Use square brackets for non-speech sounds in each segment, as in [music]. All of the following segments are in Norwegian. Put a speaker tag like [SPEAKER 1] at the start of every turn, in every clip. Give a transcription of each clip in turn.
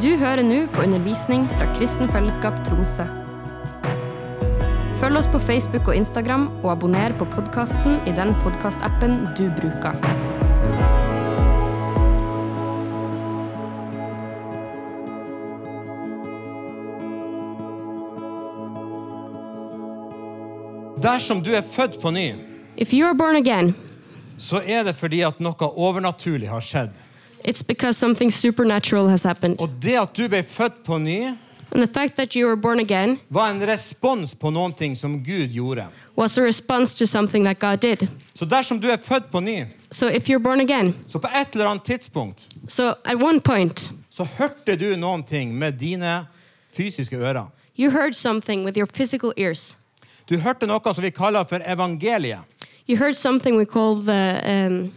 [SPEAKER 1] Du hører nå på undervisning fra Kristen Fellesskap Tromsø. Følg oss på Facebook og Instagram, og abonner på podkasten i den podkastappen du bruker.
[SPEAKER 2] Dersom du er født på ny,
[SPEAKER 1] If you are born again,
[SPEAKER 2] så er det fordi at noe overnaturlig har skjedd.
[SPEAKER 1] it's because something supernatural has happened.
[SPEAKER 2] Og det at du ble født på ny,
[SPEAKER 1] And the fact that you were born again
[SPEAKER 2] var en respons på noen ting som Gud gjorde.
[SPEAKER 1] was a response to something that God did.
[SPEAKER 2] Så dersom du er født på ny,
[SPEAKER 1] So if you're born again,
[SPEAKER 2] så på et eller annet tidspunkt
[SPEAKER 1] so at one point
[SPEAKER 2] så hørte du noen ting med dine fysiske ører.
[SPEAKER 1] you heard something with your physical ears.
[SPEAKER 2] Du hørte noe som vi kaller for evangeliet.
[SPEAKER 1] You heard something we call the um,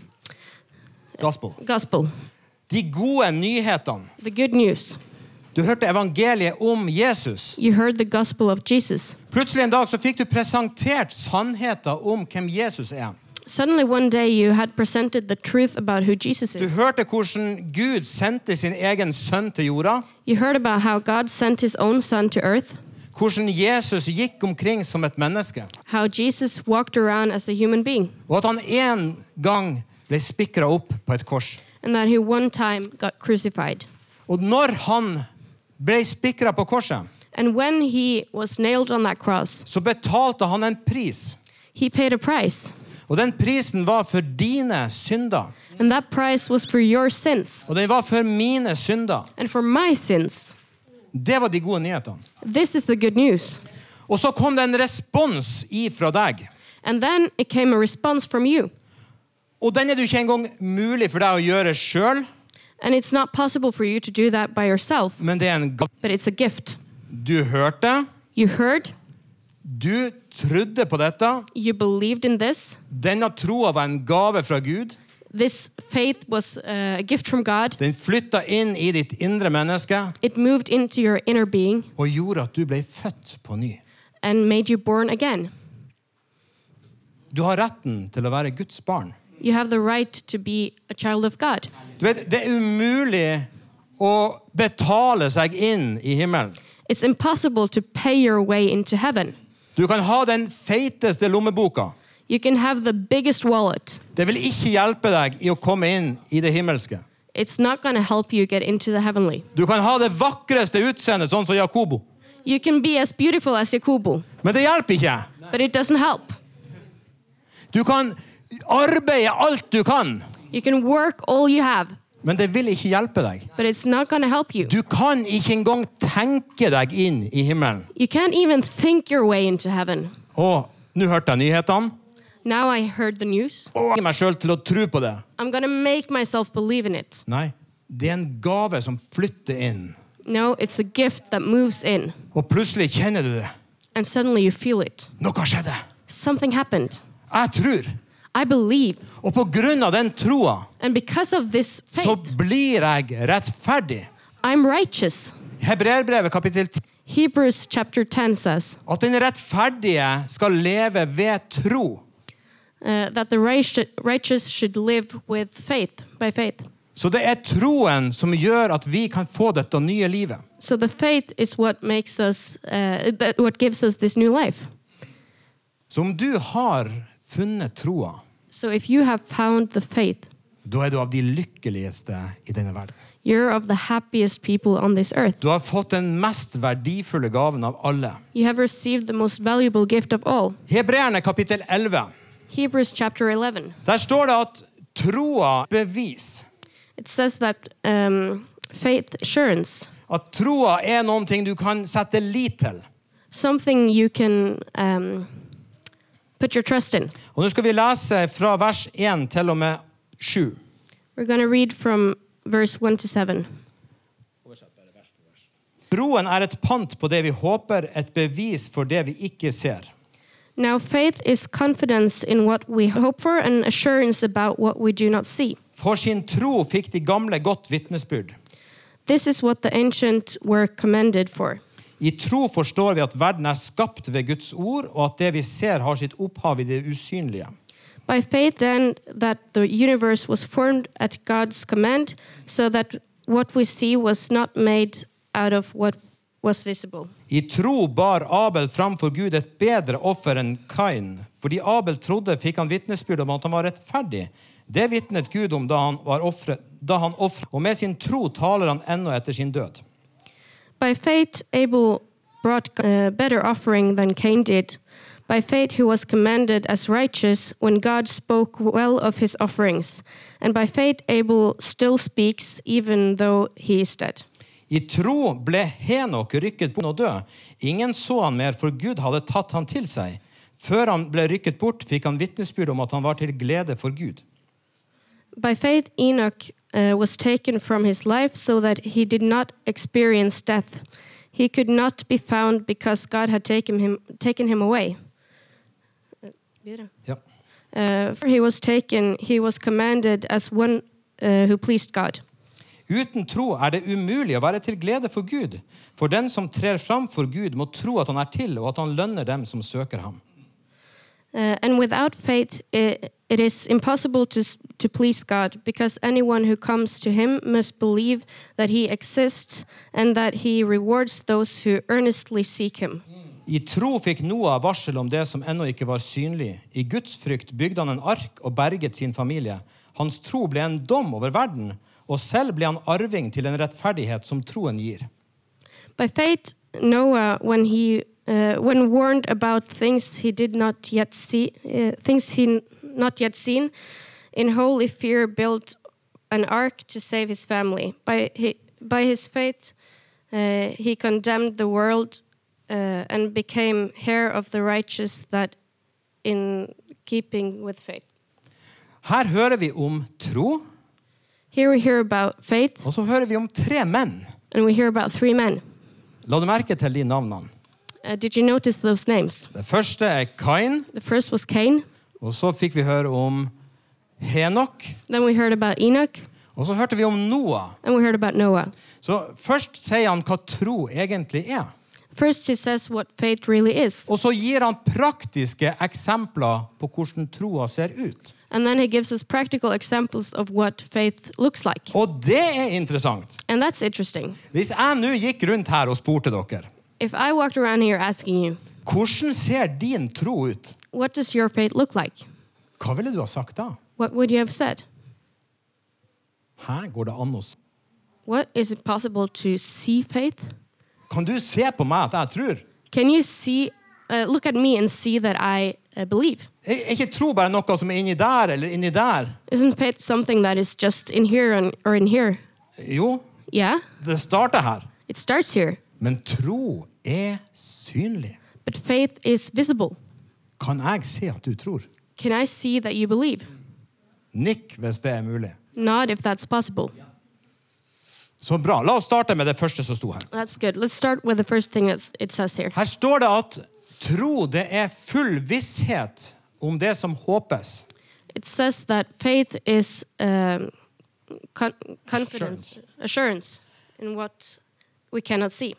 [SPEAKER 2] Gospel.
[SPEAKER 1] gospel,
[SPEAKER 2] De gode nyhetene.
[SPEAKER 1] the good news.
[SPEAKER 2] Du hørte evangeliet om Jesus.
[SPEAKER 1] You heard the gospel of Jesus.
[SPEAKER 2] Plutselig en dag så fikk du presentert sannheten om hvem Jesus er.
[SPEAKER 1] Suddenly, one day, you had presented the truth about who Jesus
[SPEAKER 2] Du
[SPEAKER 1] is.
[SPEAKER 2] hørte hvordan Gud sendte sin egen sønn til jorda.
[SPEAKER 1] You heard about how God sent his own son to earth,
[SPEAKER 2] Hvordan Jesus gikk omkring som et menneske.
[SPEAKER 1] how Jesus walked around as a human being,
[SPEAKER 2] Og at han en gang ble spikra opp på et kors.
[SPEAKER 1] and that he one time got crucified.
[SPEAKER 2] Og når han ble spikra på korset,
[SPEAKER 1] And when he was nailed on that cross,
[SPEAKER 2] så betalte han en pris.
[SPEAKER 1] he paid a price.
[SPEAKER 2] Og den prisen var for dine synder.
[SPEAKER 1] And that price was for your sins
[SPEAKER 2] Og den var for mine synder.
[SPEAKER 1] and for my sins.
[SPEAKER 2] Det var de gode nyhetene.
[SPEAKER 1] This is the good news.
[SPEAKER 2] Og så kom det en respons ifra deg.
[SPEAKER 1] And then it came a response from you.
[SPEAKER 2] Og den er det jo ikke engang mulig for deg å gjøre sjøl,
[SPEAKER 1] And it's not possible for you to do that by yourself,
[SPEAKER 2] men det er en gave.
[SPEAKER 1] but it's a gift.
[SPEAKER 2] Du hørte,
[SPEAKER 1] You heard,
[SPEAKER 2] du trodde på dette.
[SPEAKER 1] you believed in this.
[SPEAKER 2] Denne troa var en gave fra Gud.
[SPEAKER 1] This faith was uh, a gift from God.
[SPEAKER 2] Den flytta inn i ditt indre menneske
[SPEAKER 1] It moved into your inner being
[SPEAKER 2] og gjorde at du ble født på ny.
[SPEAKER 1] and made you born again.
[SPEAKER 2] Du har retten til å være Guds barn.
[SPEAKER 1] You have the right to be a child of God.
[SPEAKER 2] Du vet, Det er umulig å betale seg inn i himmelen.
[SPEAKER 1] It's impossible to pay your way into heaven.
[SPEAKER 2] Du kan ha den feiteste lommeboka.
[SPEAKER 1] You can have the biggest wallet.
[SPEAKER 2] Det vil ikke hjelpe deg i å komme inn i det himmelske.
[SPEAKER 1] It's not going to help you get into the heavenly.
[SPEAKER 2] Du kan ha det vakreste utseendet, sånn som Jakobo.
[SPEAKER 1] You can be as beautiful as Jakubu,
[SPEAKER 2] Men det hjelper ikke.
[SPEAKER 1] but it doesn't help.
[SPEAKER 2] Du kan arbeide alt du kan,
[SPEAKER 1] You can work all you have,
[SPEAKER 2] men det vil ikke hjelpe deg.
[SPEAKER 1] but it's not going to help you.
[SPEAKER 2] Du kan ikke engang tenke deg inn i himmelen.
[SPEAKER 1] You can't even think your way into heaven.
[SPEAKER 2] Og nå hørte jeg nyhetene.
[SPEAKER 1] Now I heard the news.
[SPEAKER 2] Og jeg får meg sjøl til å tro på det.
[SPEAKER 1] I'm going to make myself believe in it.
[SPEAKER 2] Nei, det er en gave som flytter inn.
[SPEAKER 1] No, it's a gift that moves in,
[SPEAKER 2] Og plutselig kjenner du det.
[SPEAKER 1] and suddenly you feel it.
[SPEAKER 2] Noe skjedde.
[SPEAKER 1] Something happened.
[SPEAKER 2] Jeg tror.
[SPEAKER 1] I believe.
[SPEAKER 2] Og på grunn av den troa
[SPEAKER 1] And because of this
[SPEAKER 2] så
[SPEAKER 1] faith,
[SPEAKER 2] blir jeg rettferdig.
[SPEAKER 1] I'm righteous.
[SPEAKER 2] Hebreerbrevet kapittel 10.
[SPEAKER 1] Hebrews chapter 10 says
[SPEAKER 2] At den rettferdige skal leve ved tro.
[SPEAKER 1] uh, that the righteous righteous should live with faith, by faith.
[SPEAKER 2] Så det er troen som gjør at vi kan få dette nye livet.
[SPEAKER 1] So the faith is what makes us, uh, that what gives us this new life.
[SPEAKER 2] Så om du har funnet troa,
[SPEAKER 1] So if you have found the faith,
[SPEAKER 2] da er du av de lykkeligste i denne verden.
[SPEAKER 1] you're of the happiest people on this earth.
[SPEAKER 2] Du har fått den mest verdifulle gaven av alle.
[SPEAKER 1] You have received the most valuable gift of all.
[SPEAKER 2] Hebreerne kapittel 11.
[SPEAKER 1] Hebrews chapter 11.
[SPEAKER 2] Der står det at troa bevis.
[SPEAKER 1] It says that um, faith assurance,
[SPEAKER 2] At troa er noe du kan sette lit til.
[SPEAKER 1] something you can um, put your trust in.
[SPEAKER 2] Og Nå skal vi lese fra vers 1 til og med 7.
[SPEAKER 1] We're going to read from verse 1 to 7.
[SPEAKER 2] Troen er et pant på det vi håper, et bevis for det vi ikke ser.
[SPEAKER 1] Now, faith is confidence in what we hope for and assurance about what we do not see.
[SPEAKER 2] For sin tro fikk de gamle godt vitnesbyrd.
[SPEAKER 1] This is what the ancient were commended for.
[SPEAKER 2] I tro forstår vi at verden er skapt ved Guds ord, og at det vi ser, har sitt opphav i det usynlige.
[SPEAKER 1] By faith, then, that the universe was formed at God's command, so that what we see was not made out of what was visible.
[SPEAKER 2] I tro bar Abel framfor Gud et bedre offer enn Kain. Fordi Abel trodde, fikk han vitnesbyrd om at han var rettferdig. Det vitnet Gud om da han var offret, da han offret. Og med sin tro taler han ennå etter sin død.
[SPEAKER 1] By faith, Abel brought a better offering than Cain did. By faith, he was commanded as righteous when God spoke well of his offerings. And by faith, Abel still speaks, even though he is dead.
[SPEAKER 2] I tro ble Henok rykket bort og død. Ingen så han mer, for Gud hadde tatt han til seg. Før han ble rykket bort, fikk han vitnesbyrd om at han var til glede for Gud.
[SPEAKER 1] By faith, Enoch uh, was taken from his life so that he did not experience death. He could not be found because God had taken him, taken him away.
[SPEAKER 2] Ja.
[SPEAKER 1] Uh, for he was taken, he was commanded as one uh, who pleased God.
[SPEAKER 2] Uten tro er det umulig å være til glede for Gud. For den som trer fram for Gud, må tro at han er til, og at han lønner dem som søker ham.
[SPEAKER 1] Uh, and without faith, it, it is impossible to, s- to please God because anyone who comes to him must believe that he exists and that he rewards those who earnestly seek him.
[SPEAKER 2] I tro fikk Noah varsel om det som ennå ikke var synlig. I Guds frykt bygde han en ark og berget sin familie. Hans tro ble en dom over verden, og selv ble han arving til en rettferdighet som troen gir.
[SPEAKER 1] By faith, Noah, when he uh, when warned about things he did not yet see, uh, things he n- not yet seen, in holy fear built an ark to save his family. By he, by his faith, uh, he condemned the world uh, and became heir of the righteous. That, in keeping with faith,
[SPEAKER 2] Her hører vi om tro,
[SPEAKER 1] here we hear about faith,
[SPEAKER 2] og så hører vi om tre menn.
[SPEAKER 1] and we hear about three men.
[SPEAKER 2] La du merke til de navnene?
[SPEAKER 1] Uh, did you notice those names?
[SPEAKER 2] Det første er Kain,
[SPEAKER 1] The first was Cain.
[SPEAKER 2] og så fikk vi høre om Henok,
[SPEAKER 1] Then we heard about Enoch.
[SPEAKER 2] og så hørte vi om Noah.
[SPEAKER 1] and we heard about Noah.
[SPEAKER 2] Så først sier han hva tro egentlig er.
[SPEAKER 1] First, he says what faith really is,
[SPEAKER 2] Og så gir han praktiske eksempler på hvordan troa ser ut.
[SPEAKER 1] and then he gives us practical examples of what faith looks like.
[SPEAKER 2] Og det er interessant.
[SPEAKER 1] And that's interesting.
[SPEAKER 2] Hvis jeg nå gikk rundt her og spurte dere
[SPEAKER 1] If I walked around here asking you,
[SPEAKER 2] hvordan ser din tro ut,
[SPEAKER 1] what does your faith look like?
[SPEAKER 2] hva ville du ha sagt da?
[SPEAKER 1] What would you have said?
[SPEAKER 2] Hæ, går det an å s...
[SPEAKER 1] What is it possible to see faith?
[SPEAKER 2] Kan du se på meg at jeg tror?
[SPEAKER 1] Can you see, uh, look at me and see that I uh, believe?
[SPEAKER 2] Er er ikke tro bare noe som er inni der eller inni der?
[SPEAKER 1] Isn't faith something that is just in here and, or in here?
[SPEAKER 2] Jo,
[SPEAKER 1] Yeah,
[SPEAKER 2] det starter her.
[SPEAKER 1] it starts here,
[SPEAKER 2] Men tro er synlig.
[SPEAKER 1] but faith is visible.
[SPEAKER 2] Kan jeg se at du tror?
[SPEAKER 1] Can I see that you believe?
[SPEAKER 2] Nikk hvis det er mulig.
[SPEAKER 1] Not if that's possible.
[SPEAKER 2] Så bra. La oss starte med det første som sto her.
[SPEAKER 1] That's good. Let's start with the first thing that it says here.
[SPEAKER 2] Her står det at tro det er full visshet om det som håpes.
[SPEAKER 1] It says that faith is um, con- confidence, assurance. in what we cannot see.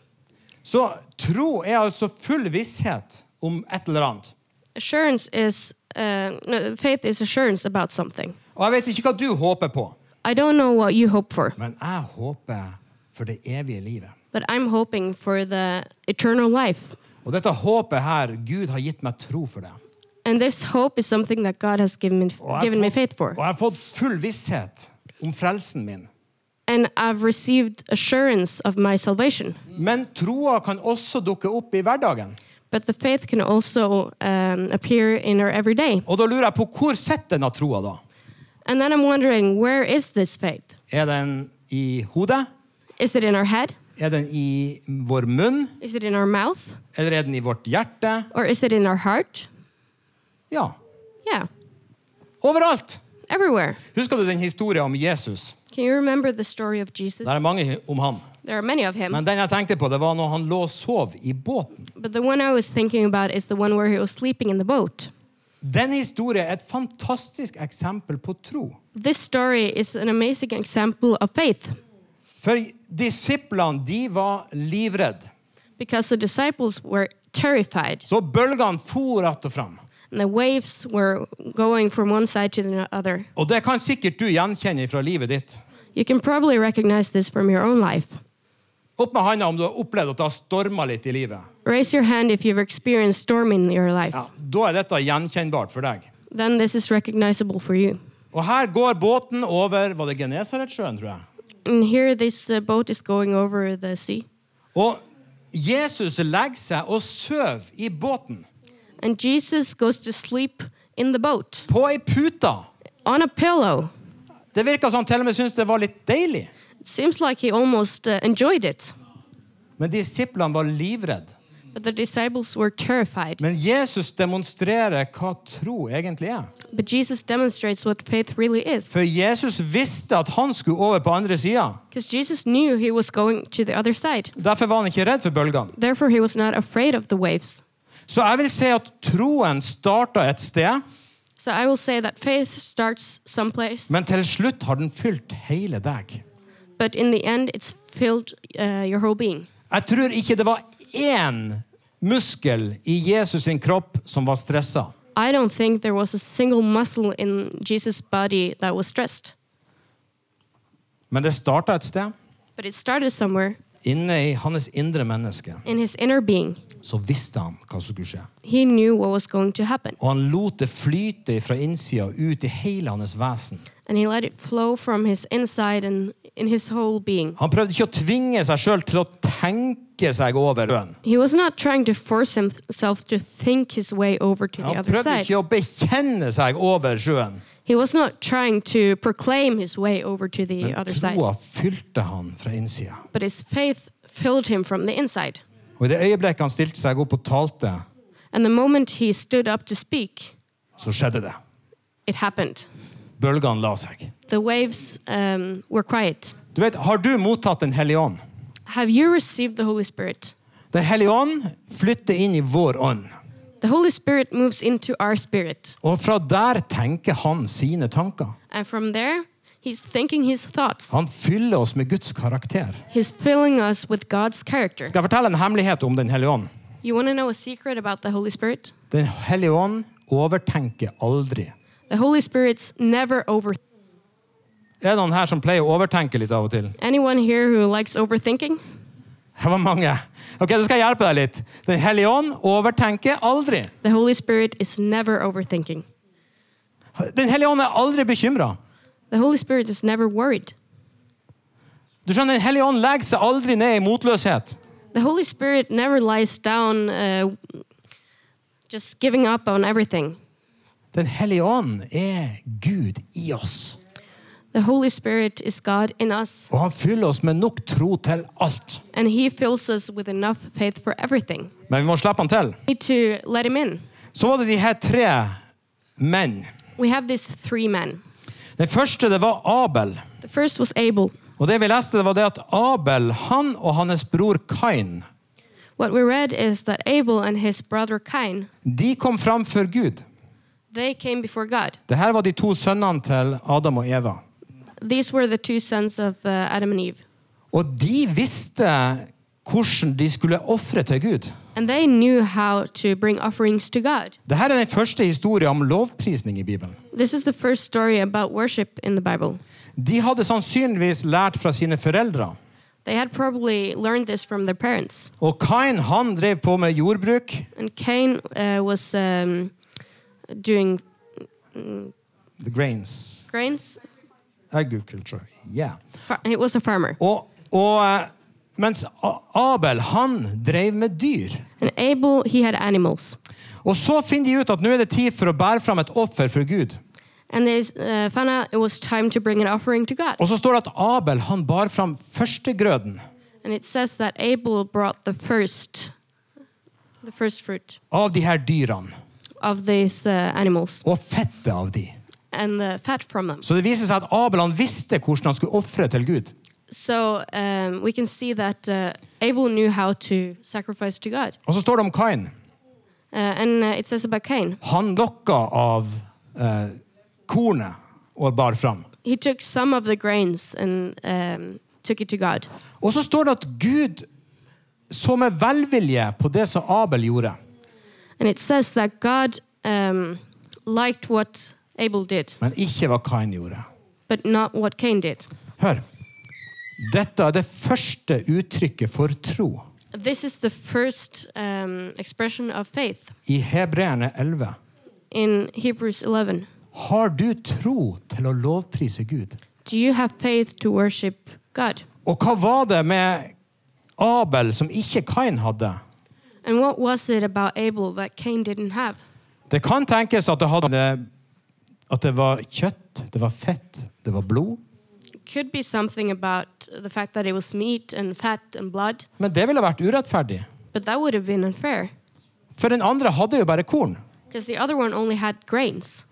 [SPEAKER 2] Så tro er altså full visshet om et eller annet.
[SPEAKER 1] Assurance is uh, no, faith is assurance about something.
[SPEAKER 2] Og jeg vet ikke hva du håper på,
[SPEAKER 1] I don't know what you hope for,
[SPEAKER 2] men jeg håper for det evige livet.
[SPEAKER 1] but I'm hoping for the eternal life.
[SPEAKER 2] Og dette håpet her, Gud har gitt meg tro for det.
[SPEAKER 1] And this hope is something that God has given me,
[SPEAKER 2] Og jeg,
[SPEAKER 1] given me
[SPEAKER 2] har
[SPEAKER 1] faith
[SPEAKER 2] fått,
[SPEAKER 1] for.
[SPEAKER 2] og jeg har fått full visshet om frelsen min.
[SPEAKER 1] And I've received assurance of my salvation.
[SPEAKER 2] Men troa kan også dukke opp i hverdagen.
[SPEAKER 1] But the faith can also um, appear in our everyday.
[SPEAKER 2] Og da lurer jeg på hvor sitter denne troa, da?
[SPEAKER 1] And then I'm wondering, where is this faith?
[SPEAKER 2] Er den i hodet?
[SPEAKER 1] Is it in our head?
[SPEAKER 2] Er den i vår munn?
[SPEAKER 1] Is it in our mouth?
[SPEAKER 2] Eller er den i vårt hjerte?
[SPEAKER 1] Or is it in our heart?
[SPEAKER 2] Ja.
[SPEAKER 1] Yeah,
[SPEAKER 2] Overalt!
[SPEAKER 1] everywhere.
[SPEAKER 2] Husker du den historien om Jesus?
[SPEAKER 1] Can you remember the story of Jesus?
[SPEAKER 2] Det er mange om han.
[SPEAKER 1] There are many of him,
[SPEAKER 2] Men den jeg tenkte på, det var når han lå og sov i båten.
[SPEAKER 1] but the one I was thinking about is the one where he was sleeping in the boat.
[SPEAKER 2] Den historien er et fantastisk eksempel på tro.
[SPEAKER 1] This story is an amazing example of faith
[SPEAKER 2] For disiplene, de var livredde.
[SPEAKER 1] because the disciples were terrified
[SPEAKER 2] Så bølgene for att og fram.
[SPEAKER 1] and the waves were going from one side to the other.
[SPEAKER 2] Og det kan sikkert du gjenkjenne fra livet ditt.
[SPEAKER 1] You can probably recognize this from your own life.
[SPEAKER 2] Opp med handa om du har opplevd at det har storma litt i livet.
[SPEAKER 1] Raise your hand if you've experienced storm in your life.
[SPEAKER 2] Ja, da er dette gjenkjennbart for deg.
[SPEAKER 1] Then this is recognizable for you.
[SPEAKER 2] Og her går båten over Var det Genesaretsjøen, tror jeg?
[SPEAKER 1] And here this uh, boat is going over the sea.
[SPEAKER 2] Og Jesus legger seg og sover i båten.
[SPEAKER 1] And Jesus goes to sleep in the boat
[SPEAKER 2] På ei pute.
[SPEAKER 1] on a pillow.
[SPEAKER 2] Det virka som han til og med syntes det var litt deilig.
[SPEAKER 1] It seems like he almost uh, enjoyed it.
[SPEAKER 2] Men disiplene var livredde.
[SPEAKER 1] But the disciples were terrified.
[SPEAKER 2] Men Jesus demonstrerer hva tro egentlig er.
[SPEAKER 1] But Jesus demonstrates what faith really is.
[SPEAKER 2] For Jesus visste at han skulle over på andre sida.
[SPEAKER 1] Because Jesus knew he was going to the other side.
[SPEAKER 2] Derfor var han ikke redd for bølgene.
[SPEAKER 1] Therefore, he was not afraid of the waves.
[SPEAKER 2] Så jeg vil si at troen starta et sted,
[SPEAKER 1] So I will say that faith starts someplace,
[SPEAKER 2] men til slutt har den fylt hele deg.
[SPEAKER 1] but in the end, it's filled uh, your whole being.
[SPEAKER 2] Jeg tror ikke det var én muskel i Jesus sin kropp som var stressa.
[SPEAKER 1] I don't think there was a single muscle in Jesus' body that was stressed,
[SPEAKER 2] Men det starta et sted.
[SPEAKER 1] but it started somewhere
[SPEAKER 2] Inne i hans indre menneske
[SPEAKER 1] in his inner being.
[SPEAKER 2] så visste han hva som skulle skje.
[SPEAKER 1] He knew what was going to happen,
[SPEAKER 2] Og han lot det flyte fra innsida ut i hele hans vesen.
[SPEAKER 1] and he let it flow from his inside and in his whole being.
[SPEAKER 2] Han prøvde ikke å tvinge seg sjøl til å tenke seg over bønn.
[SPEAKER 1] He was not trying to force himself to think his way over to the
[SPEAKER 2] Han
[SPEAKER 1] other
[SPEAKER 2] prøvde
[SPEAKER 1] side.
[SPEAKER 2] ikke å bekjenne seg over sjøen.
[SPEAKER 1] He was not trying to proclaim his way over to the other side,
[SPEAKER 2] Troa fylte han fra innsida.
[SPEAKER 1] but his faith filled him from the inside.
[SPEAKER 2] Og i det øyeblikket han stilte seg opp og talte,
[SPEAKER 1] And the moment he stood up to speak,
[SPEAKER 2] så skjedde det.
[SPEAKER 1] it happened.
[SPEAKER 2] Bølgene la seg.
[SPEAKER 1] The waves um, were quiet.
[SPEAKER 2] Du vet, Har du mottatt Den hellige ånd?
[SPEAKER 1] Have you received the Holy Spirit?
[SPEAKER 2] Den hellige ånd flytter inn i vår ånd.
[SPEAKER 1] The Holy Spirit moves into our spirit,
[SPEAKER 2] Og fra der tenker han sine tanker.
[SPEAKER 1] and from there, He's thinking His thoughts.
[SPEAKER 2] Han fyller oss med Guds karakter.
[SPEAKER 1] He's filling us with God's character.
[SPEAKER 2] Skal jeg fortelle en hemmelighet om Den hellige ånd?
[SPEAKER 1] You want to know a secret about the Holy Spirit?
[SPEAKER 2] Den hellige ånd overtenker aldri.
[SPEAKER 1] The Holy Spirit's never over.
[SPEAKER 2] Er det noen her som pleier å overtenke litt av og til? [laughs]
[SPEAKER 1] Anyone here who likes overthinking?
[SPEAKER 2] Det var mange. Ok, Da skal jeg hjelpe deg litt. Den hellige ånd overtenker aldri.
[SPEAKER 1] The Holy Spirit is never overthinking.
[SPEAKER 2] Den hellige ånd er aldri bekymra.
[SPEAKER 1] The Holy Spirit is never worried.
[SPEAKER 2] Du skjønner, Den hellige ånd legger seg aldri ned i motløshet.
[SPEAKER 1] The Holy Spirit never lies down uh, just giving up on everything.
[SPEAKER 2] Den hellige ånd er Gud i oss.
[SPEAKER 1] The Holy Spirit is God in us,
[SPEAKER 2] Og han fyller oss med nok tro til alt.
[SPEAKER 1] and He fills us with enough faith for everything.
[SPEAKER 2] Men vi må slippe han til.
[SPEAKER 1] We need to let Him in.
[SPEAKER 2] Så var det de her tre menn.
[SPEAKER 1] We have these three men.
[SPEAKER 2] Den første det var Abel.
[SPEAKER 1] The first was Abel.
[SPEAKER 2] Og det vi leste, det var det at Abel, han og hans bror Kain,
[SPEAKER 1] What we read is that Abel and his brother Cain,
[SPEAKER 2] de kom fram for Gud.
[SPEAKER 1] they came before God.
[SPEAKER 2] Det her var de to sønnene til Adam og Eva.
[SPEAKER 1] These were the two sons of uh, Adam and Eve,
[SPEAKER 2] Og de visste hvordan de skulle ofre til Gud.
[SPEAKER 1] and they knew how to bring offerings to God.
[SPEAKER 2] Dette er den første historien om lovprisning i Bibelen.
[SPEAKER 1] This is the first story about worship in the Bible.
[SPEAKER 2] De hadde sannsynligvis lært fra sine foreldre.
[SPEAKER 1] They had probably learned this from their parents.
[SPEAKER 2] Og Kain han drev på med jordbruk.
[SPEAKER 1] And Cain uh, was um, doing
[SPEAKER 2] The grains.
[SPEAKER 1] grains.
[SPEAKER 2] Agriculture. Yeah.
[SPEAKER 1] Far- He was a farmer.
[SPEAKER 2] Og, og eh, mens A- Abel han drev med dyr.
[SPEAKER 1] And Abel, he had animals.
[SPEAKER 2] Og så finner de ut at nå er det tid for å bære fram et offer for Gud.
[SPEAKER 1] And they uh, found out it was time to bring an offering to God.
[SPEAKER 2] Og så står det at Abel han bar fram førstegrøden.
[SPEAKER 1] And it says that Abel brought the first, the first fruit
[SPEAKER 2] av de her dyrene
[SPEAKER 1] of these uh, animals
[SPEAKER 2] og fettet av de.
[SPEAKER 1] and the fat from them.
[SPEAKER 2] Så det viser seg at Abel han visste hvordan han skulle ofre til Gud.
[SPEAKER 1] So um, we can see that uh, Abel knew how to sacrifice to God.
[SPEAKER 2] Og så står det om Kain.
[SPEAKER 1] Uh, and uh, it says about Cain,
[SPEAKER 2] Han lokka av eh, kornet og bar fram.
[SPEAKER 1] he took some of the grains and um, took it to God.
[SPEAKER 2] Og så står det at Gud så med velvilje på det som Abel gjorde.
[SPEAKER 1] And it says that God um, liked what Abel did,
[SPEAKER 2] Men ikke hva Kain gjorde.
[SPEAKER 1] but not what Cain did.
[SPEAKER 2] Hør. Dette er det første uttrykket for tro
[SPEAKER 1] This is the first um, expression of faith
[SPEAKER 2] i Hebreerne 11.
[SPEAKER 1] in Hebrews 11.
[SPEAKER 2] Har du tro til å lovprise Gud?
[SPEAKER 1] Do you have faith to worship God?
[SPEAKER 2] Og hva var det med Abel som ikke Kain hadde?
[SPEAKER 1] And what was it about Abel that Cain didn't have?
[SPEAKER 2] Det kan tenkes at det, hadde, at det var kjøtt, det var fett, det var blod.
[SPEAKER 1] It could be something about the fact that it was meat and fat and blood,
[SPEAKER 2] Men det ville vært urettferdig.
[SPEAKER 1] but that would have been unfair
[SPEAKER 2] For den andre hadde jo bare korn.
[SPEAKER 1] because the other one only had grains.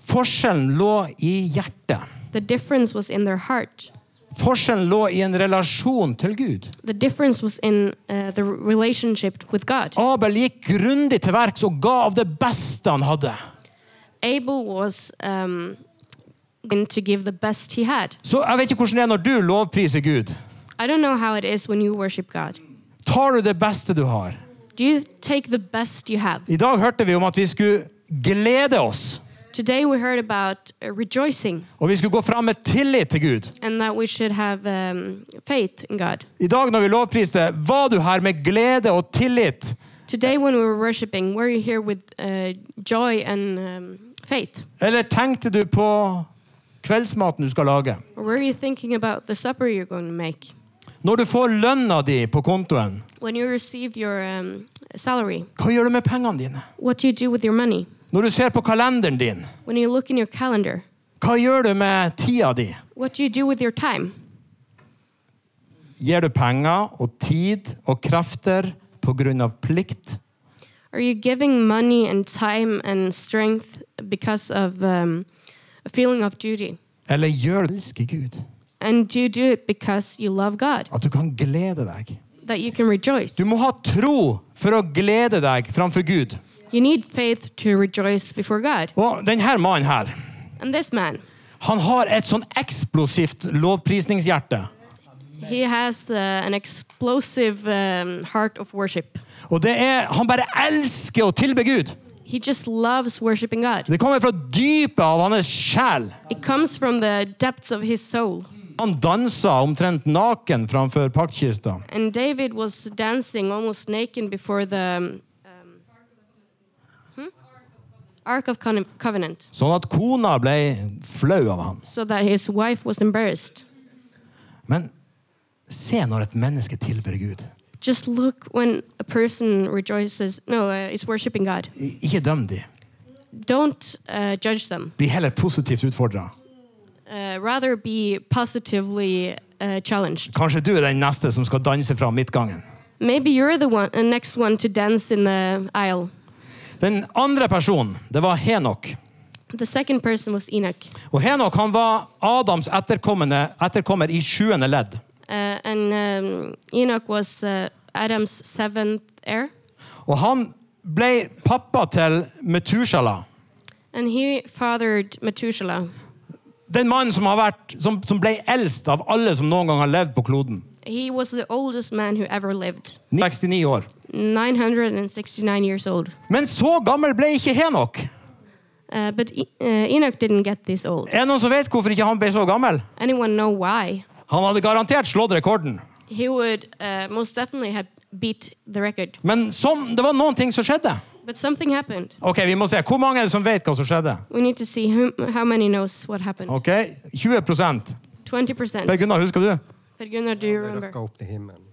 [SPEAKER 2] Forskjellen lå i hjertet.
[SPEAKER 1] The difference was in their heart.
[SPEAKER 2] Forskjellen lå i en relasjon til Gud.
[SPEAKER 1] The difference was in uh, the relationship with God.
[SPEAKER 2] Abel gikk grundig til verks og ga av det beste han hadde.
[SPEAKER 1] Abel was um, going to give the best he had.
[SPEAKER 2] Så jeg vet ikke hvordan det er når du lovpriser Gud.
[SPEAKER 1] I don't know how it is when you worship God.
[SPEAKER 2] Tar du det beste du har?
[SPEAKER 1] Do you take the best you have?
[SPEAKER 2] I dag hørte vi om at vi skulle glede oss,
[SPEAKER 1] Today we heard about uh, rejoicing
[SPEAKER 2] og vi skulle gå fram med tillit til Gud.
[SPEAKER 1] and that we should have um, faith in God.
[SPEAKER 2] I dag når vi lovpriste, var du her med glede og tillit.
[SPEAKER 1] Today, when we were worshiping, were you here with uh, joy and um, faith?
[SPEAKER 2] Eller tenkte du på kveldsmaten du skal lage?
[SPEAKER 1] Or were you thinking about the supper you're going to make?
[SPEAKER 2] Når du får lønna di på kontoen,
[SPEAKER 1] When you receive your um, salary,
[SPEAKER 2] hva gjør du med pengene dine?
[SPEAKER 1] what do you do with your money?
[SPEAKER 2] Når du ser på kalenderen din,
[SPEAKER 1] When you look in your calendar,
[SPEAKER 2] hva gjør du med tida di?
[SPEAKER 1] what do you do with your time?
[SPEAKER 2] Gir du penger og tid og krefter pga. plikt?
[SPEAKER 1] Are you giving money and time and strength because of um, a feeling of duty?
[SPEAKER 2] Eller gjør du elsker Gud?
[SPEAKER 1] And do you do it because you love God,
[SPEAKER 2] At du kan glede deg.
[SPEAKER 1] that you can rejoice?
[SPEAKER 2] Du må ha tro for å glede deg framfor Gud.
[SPEAKER 1] You need faith to rejoice before God.
[SPEAKER 2] Og denne mannen her,
[SPEAKER 1] And this man,
[SPEAKER 2] han har et sånn eksplosivt lovprisningshjerte.
[SPEAKER 1] he has uh, an explosive um, heart of worship.
[SPEAKER 2] Og det er, Han bare elsker å tilbe Gud.
[SPEAKER 1] He just loves worshiping God.
[SPEAKER 2] Det kommer fra dypet av hans sjel.
[SPEAKER 1] It comes from the depths of his soul.
[SPEAKER 2] Han dansa omtrent naken framfor paktkista.
[SPEAKER 1] And David was dancing almost naked before the um, hmm? Ark of Con- Covenant.
[SPEAKER 2] Sånn at kona ble flau av ham.
[SPEAKER 1] so that his wife was embarrassed.
[SPEAKER 2] Men se når et menneske tilber Gud.
[SPEAKER 1] Just look when a person rejoices, no, uh, is worshiping God.
[SPEAKER 2] I- Ikke døm dem.
[SPEAKER 1] Don't uh, judge them.
[SPEAKER 2] Bli heller positivt utfordra.
[SPEAKER 1] Uh, rather, be positively uh, challenged.
[SPEAKER 2] Kanskje du er den neste som skal danse fra midtgangen.
[SPEAKER 1] Maybe you're the one, uh, next one to dance in the aisle.
[SPEAKER 2] Den andre personen, det var Henok.
[SPEAKER 1] The second person was Enoch,
[SPEAKER 2] Og Henok han var Adams etterkommende- etterkommer i sjuende ledd.
[SPEAKER 1] uh, and um, Enoch was uh, Adam's seventh heir,
[SPEAKER 2] Og han ble pappa til Metushala.
[SPEAKER 1] and he fathered Methuselah.
[SPEAKER 2] Den mannen som, har vært, som, som ble eldst av alle som noen gang har levd på kloden.
[SPEAKER 1] He was the oldest man who ever lived,
[SPEAKER 2] 69 år.
[SPEAKER 1] 969 years old.
[SPEAKER 2] Men så gammel ble ikke Henok.
[SPEAKER 1] Uh, but e- uh, Enoch didn't get this old.
[SPEAKER 2] Er det noen som vet hvorfor ikke han ble så gammel?
[SPEAKER 1] Anyone know why?
[SPEAKER 2] Han hadde garantert slått rekorden.
[SPEAKER 1] He would uh, most definitely have beat the record.
[SPEAKER 2] Men som, det var noen ting som skjedde.
[SPEAKER 1] But something happened.
[SPEAKER 2] Ok, vi må se. Hvor mange er det som vet hva som skjedde?
[SPEAKER 1] We need to see who, how many knows what happened.
[SPEAKER 2] Ok, 20 Per
[SPEAKER 1] 20%.
[SPEAKER 2] Gunnar, husker du?
[SPEAKER 1] Per Gunnar, do you
[SPEAKER 3] Det
[SPEAKER 1] remember?
[SPEAKER 3] rakka opp til himmelen.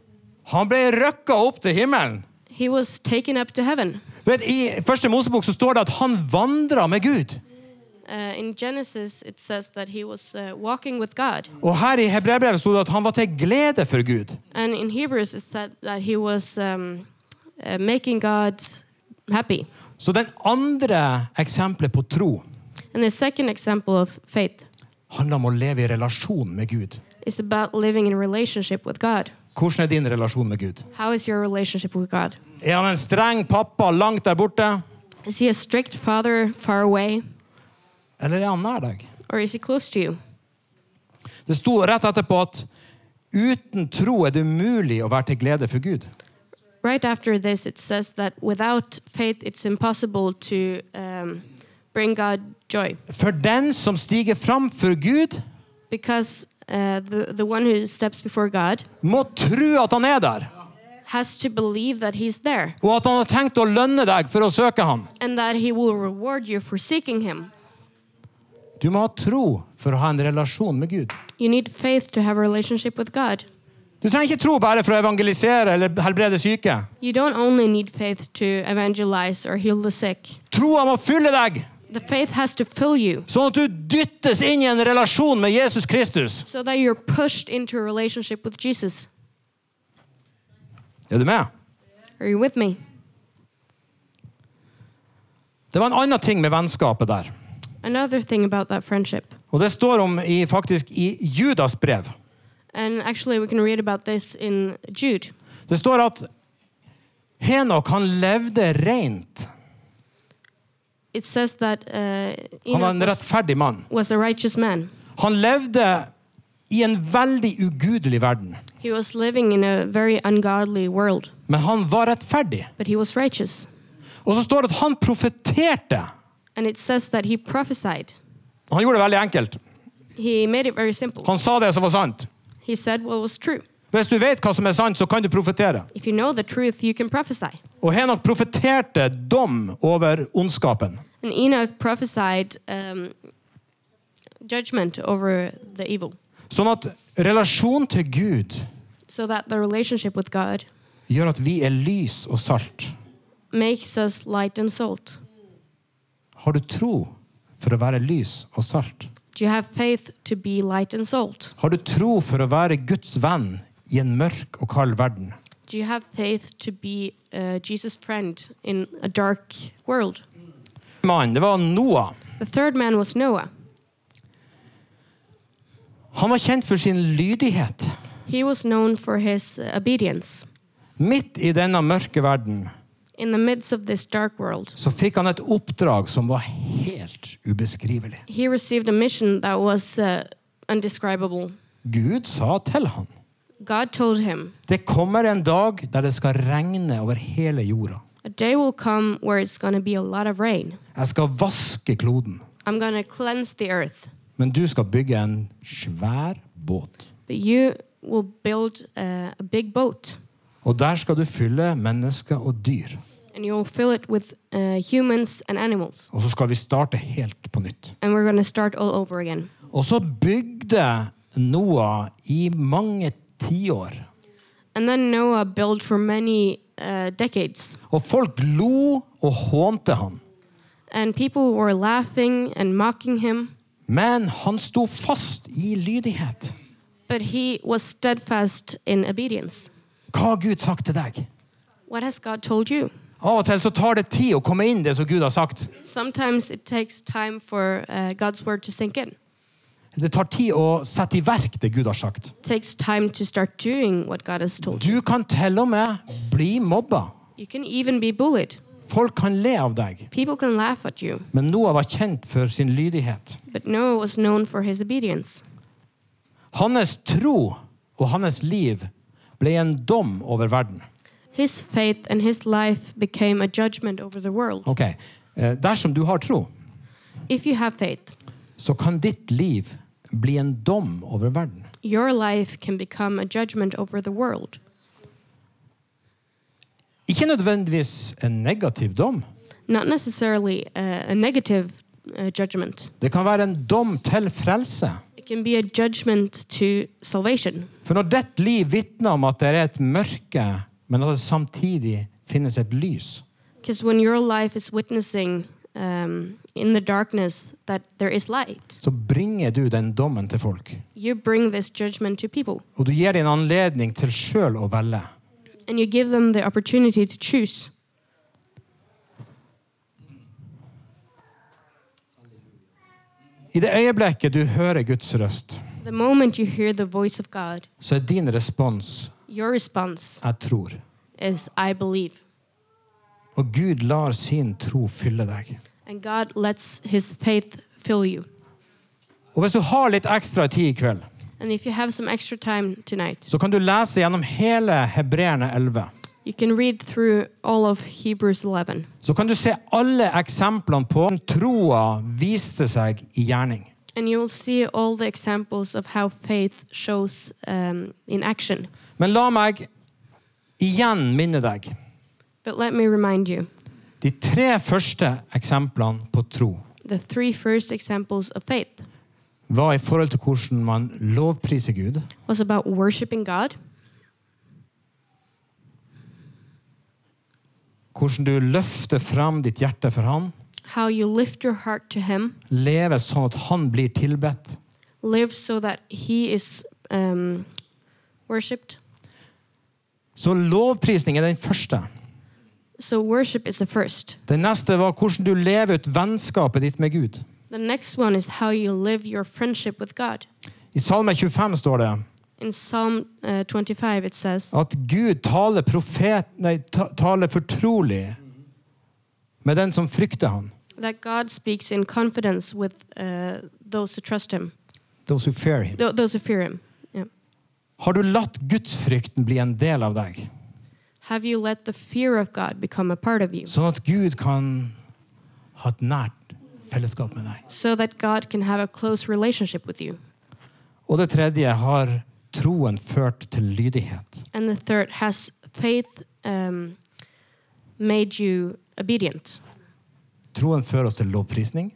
[SPEAKER 2] Han ble røkka opp til himmelen.
[SPEAKER 1] He was taken up to heaven.
[SPEAKER 2] Du Vet, I første Mosebok så står det at han vandra med Gud.
[SPEAKER 1] Uh, in Genesis, it says that he was uh, walking with God.
[SPEAKER 2] Og her i Hebreabrevet sto det at han var til glede for Gud.
[SPEAKER 1] And in Hebrews, it said that he was um, uh, making God happy.
[SPEAKER 2] Så den andre eksempelet på tro
[SPEAKER 1] And the second example of faith
[SPEAKER 2] handler om å leve i relasjon med Gud.
[SPEAKER 1] is about living in a relationship with God.
[SPEAKER 2] Hvordan er din relasjon med Gud?
[SPEAKER 1] How is your relationship with God?
[SPEAKER 2] Er han en streng pappa langt der borte?
[SPEAKER 1] Is he a strict father far away,
[SPEAKER 2] Eller er han nær deg?
[SPEAKER 1] or is he close to you?
[SPEAKER 2] Det sto rett etterpå at uten tro er det umulig å være til glede for Gud.
[SPEAKER 1] Right after this, it says that without faith, it's impossible to um, bring God joy.
[SPEAKER 2] For den som stiger fram for Gud,
[SPEAKER 1] Because uh, the, the one who steps before God
[SPEAKER 2] må tro at han er der,
[SPEAKER 1] has to believe that He's there
[SPEAKER 2] og at han har tenkt å lønne deg for å søke han.
[SPEAKER 1] and that He will reward you for seeking Him.
[SPEAKER 2] Du må ha tro for å ha en relasjon med Gud.
[SPEAKER 1] You need faith to have a relationship with God.
[SPEAKER 2] Du trenger ikke tro bare for å evangelisere eller helbrede syke.
[SPEAKER 1] You don't only need faith to evangelize or heal the sick,
[SPEAKER 2] Troa må fylle deg,
[SPEAKER 1] the faith has to fill you
[SPEAKER 2] sånn at du dyttes inn i en relasjon med Jesus Kristus.
[SPEAKER 1] so that you're pushed into a relationship with Jesus.
[SPEAKER 2] Er du med?
[SPEAKER 1] Are you with me?
[SPEAKER 2] Det var en annen ting med vennskapet der.
[SPEAKER 1] Another thing about that friendship,
[SPEAKER 2] Og det står om i, faktisk i Judas brev.
[SPEAKER 1] and actually we can read about this in Jude.
[SPEAKER 2] Det står at Henok han levde rent.
[SPEAKER 1] It says that uh,
[SPEAKER 2] Han var
[SPEAKER 1] Enoch
[SPEAKER 2] en
[SPEAKER 1] was,
[SPEAKER 2] rettferdig mann.
[SPEAKER 1] was a righteous man.
[SPEAKER 2] Han levde i en veldig ugudelig verden.
[SPEAKER 1] He was living in a very ungodly world,
[SPEAKER 2] Men han var rettferdig.
[SPEAKER 1] but he was righteous.
[SPEAKER 2] Og så står det at han profeterte.
[SPEAKER 1] And it says that he prophesied.
[SPEAKER 2] Han gjorde det veldig enkelt.
[SPEAKER 1] He made it very simple.
[SPEAKER 2] Han sa det som var sant.
[SPEAKER 1] He said what was true.
[SPEAKER 2] Hvis du vet hva som er sant, så kan du profetere.
[SPEAKER 1] If you know the truth, you can prophesy.
[SPEAKER 2] Og Henok profeterte dom over ondskapen.
[SPEAKER 1] And Enoch prophesied um, judgment over the evil,
[SPEAKER 2] Sånn at relasjon til Gud
[SPEAKER 1] so that the relationship with God
[SPEAKER 2] gjør at vi er lys og salt.
[SPEAKER 1] makes us light and salt.
[SPEAKER 2] Har du tro for å være lys og salt?
[SPEAKER 1] Do you have faith to be light and salt?
[SPEAKER 2] Har du tro for å være Guds venn i en mørk og kald verden?
[SPEAKER 1] Do you have faith to be uh, Jesus' friend in a dark world?
[SPEAKER 2] Mannen, det var Noah.
[SPEAKER 1] The third man was Noah.
[SPEAKER 2] Han var kjent for sin lydighet.
[SPEAKER 1] He was known for his uh, obedience.
[SPEAKER 2] Midt i denne mørke verden
[SPEAKER 1] In the midst of this dark world,
[SPEAKER 2] så fikk han et oppdrag som var helt ubeskrivelig.
[SPEAKER 1] he received a mission that was uh, undescribable.
[SPEAKER 2] Gud sa til han
[SPEAKER 1] God told him,
[SPEAKER 2] Det kommer en dag der det skal regne over hele jorda.
[SPEAKER 1] A day will come where it's going to be a lot of rain.
[SPEAKER 2] Jeg skal vaske kloden,
[SPEAKER 1] I'm going to cleanse the earth.
[SPEAKER 2] men du skal bygge en svær båt.
[SPEAKER 1] But you will build uh, a big boat
[SPEAKER 2] Og der skal du fylle mennesker og dyr.
[SPEAKER 1] and you will fill it with uh, humans and animals.
[SPEAKER 2] Og så skal vi starte helt på nytt.
[SPEAKER 1] And we're going to start all over again.
[SPEAKER 2] Og så bygde Noah i mange tiår.
[SPEAKER 1] And then Noah built for many uh, decades.
[SPEAKER 2] Og folk lo og hånte han.
[SPEAKER 1] And people were laughing and mocking him.
[SPEAKER 2] Men han sto fast i lydighet.
[SPEAKER 1] But he was steadfast in obedience.
[SPEAKER 2] Hva har Gud sagt til deg?
[SPEAKER 1] What has God told you?
[SPEAKER 2] Av og til så tar det tid å komme inn det som Gud har sagt.
[SPEAKER 1] Sometimes it takes time for uh, God's word to sink in.
[SPEAKER 2] Det tar tid å sette i verk det Gud har sagt.
[SPEAKER 1] It takes time to start doing what God has told you.
[SPEAKER 2] Du kan til og med bli mobba.
[SPEAKER 1] You can even be bullied.
[SPEAKER 2] Folk kan le av deg.
[SPEAKER 1] People can laugh at you.
[SPEAKER 2] Men Noah var kjent for sin lydighet.
[SPEAKER 1] But Noah was known for his obedience.
[SPEAKER 2] Hans tro og hans liv ble en dom over verden.
[SPEAKER 1] His faith and his life became a judgment over the world.
[SPEAKER 2] Ok, eh, Dersom du har tro,
[SPEAKER 1] If you have faith,
[SPEAKER 2] så kan ditt liv bli en dom over verden.
[SPEAKER 1] your life can become a judgment over the world.
[SPEAKER 2] Ikke nødvendigvis en negativ dom.
[SPEAKER 1] Not necessarily a, a negative uh, judgment,
[SPEAKER 2] Det kan være en dom til frelse.
[SPEAKER 1] it can be a judgment to salvation.
[SPEAKER 2] For når ditt liv vitner om at det er et mørke, men at det samtidig finnes et lys,
[SPEAKER 1] Because when your life is witnessing um, in the darkness that there is light,
[SPEAKER 2] så bringer du den dommen til folk.
[SPEAKER 1] you bring this judgment to people
[SPEAKER 2] Og du gir dem en anledning til sjøl å velge.
[SPEAKER 1] and you give them the opportunity to choose.
[SPEAKER 2] I det øyeblikket du hører Guds røst,
[SPEAKER 1] The moment you hear the voice of God,
[SPEAKER 2] så er din respons
[SPEAKER 1] your response
[SPEAKER 2] 'jeg tror'.
[SPEAKER 1] is, I believe.
[SPEAKER 2] Og Gud lar sin tro fylle deg.
[SPEAKER 1] And God lets his faith fill you.
[SPEAKER 2] Og hvis du har litt ekstra tid i kveld,
[SPEAKER 1] And if you have some extra time tonight,
[SPEAKER 2] så kan du lese gjennom hele Hebreerne 11.
[SPEAKER 1] you can read through all of Hebrews 11.
[SPEAKER 2] Så kan du se alle eksemplene på hvordan troa viste seg i gjerning.
[SPEAKER 1] and you'll see all the examples of how faith shows um, in action.
[SPEAKER 2] Men la meg igjen minne deg
[SPEAKER 1] But let me remind you
[SPEAKER 2] de tre første eksemplene på tro
[SPEAKER 1] the three first examples of faith
[SPEAKER 2] var i forhold til hvordan man lovpriser Gud,
[SPEAKER 1] was about worshiping God,
[SPEAKER 2] hvordan du løfter fram ditt hjerte for Han,
[SPEAKER 1] how you lift your heart to Him,
[SPEAKER 2] lever sånn at Han blir tilbedt.
[SPEAKER 1] live so that He is um, worshipped.
[SPEAKER 2] Så lovprisning er den første.
[SPEAKER 1] So, worship is the first.
[SPEAKER 2] Den neste var hvordan du lever ut vennskapet ditt med Gud.
[SPEAKER 1] The next one is how you live your friendship with God.
[SPEAKER 2] I Salme 25 står det
[SPEAKER 1] In Psalm uh, 25, it says,
[SPEAKER 2] at Gud taler, profet, nei, ta- taler fortrolig med den som frykter han.
[SPEAKER 1] that God speaks in confidence with uh, those who trust Him,
[SPEAKER 2] Those who fear him.
[SPEAKER 1] th- those who fear Him. Yeah.
[SPEAKER 2] Har du latt gudsfrykten bli en del av deg,
[SPEAKER 1] Have you let the fear of God become a part of you
[SPEAKER 2] sånn at Gud kan ha et nært fellesskap med deg?
[SPEAKER 1] so that God can have a close relationship with you?
[SPEAKER 2] Og det tredje har troen ført til lydighet.
[SPEAKER 1] And the third, has faith um, made you obedient?
[SPEAKER 2] Troen fører oss til lovprisning,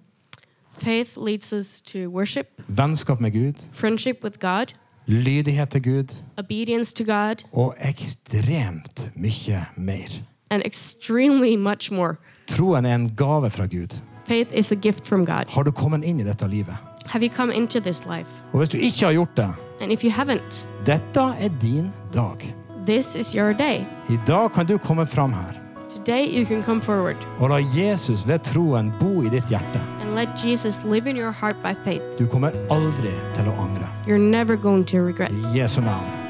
[SPEAKER 1] Faith leads us to worship,
[SPEAKER 2] vennskap med Gud,
[SPEAKER 1] friendship with God,
[SPEAKER 2] lydighet til Gud
[SPEAKER 1] obedience to God,
[SPEAKER 2] og ekstremt mye mer.
[SPEAKER 1] and extremely much more.
[SPEAKER 2] Troen er en gave fra Gud.
[SPEAKER 1] Faith is a gift from God.
[SPEAKER 2] Har du kommet inn i dette livet?
[SPEAKER 1] Have you come into this life?
[SPEAKER 2] Og hvis du ikke har gjort det,
[SPEAKER 1] And if you haven't,
[SPEAKER 2] dette er din dag.
[SPEAKER 1] this is your day.
[SPEAKER 2] I dag kan du komme fram her
[SPEAKER 1] Today you can come forward
[SPEAKER 2] og la Jesus ved troen bo i ditt hjerte.
[SPEAKER 1] and let Jesus live in your heart by faith.
[SPEAKER 2] Du kommer aldri til å angre.
[SPEAKER 1] You're never going to regret.
[SPEAKER 2] I Jesu navn.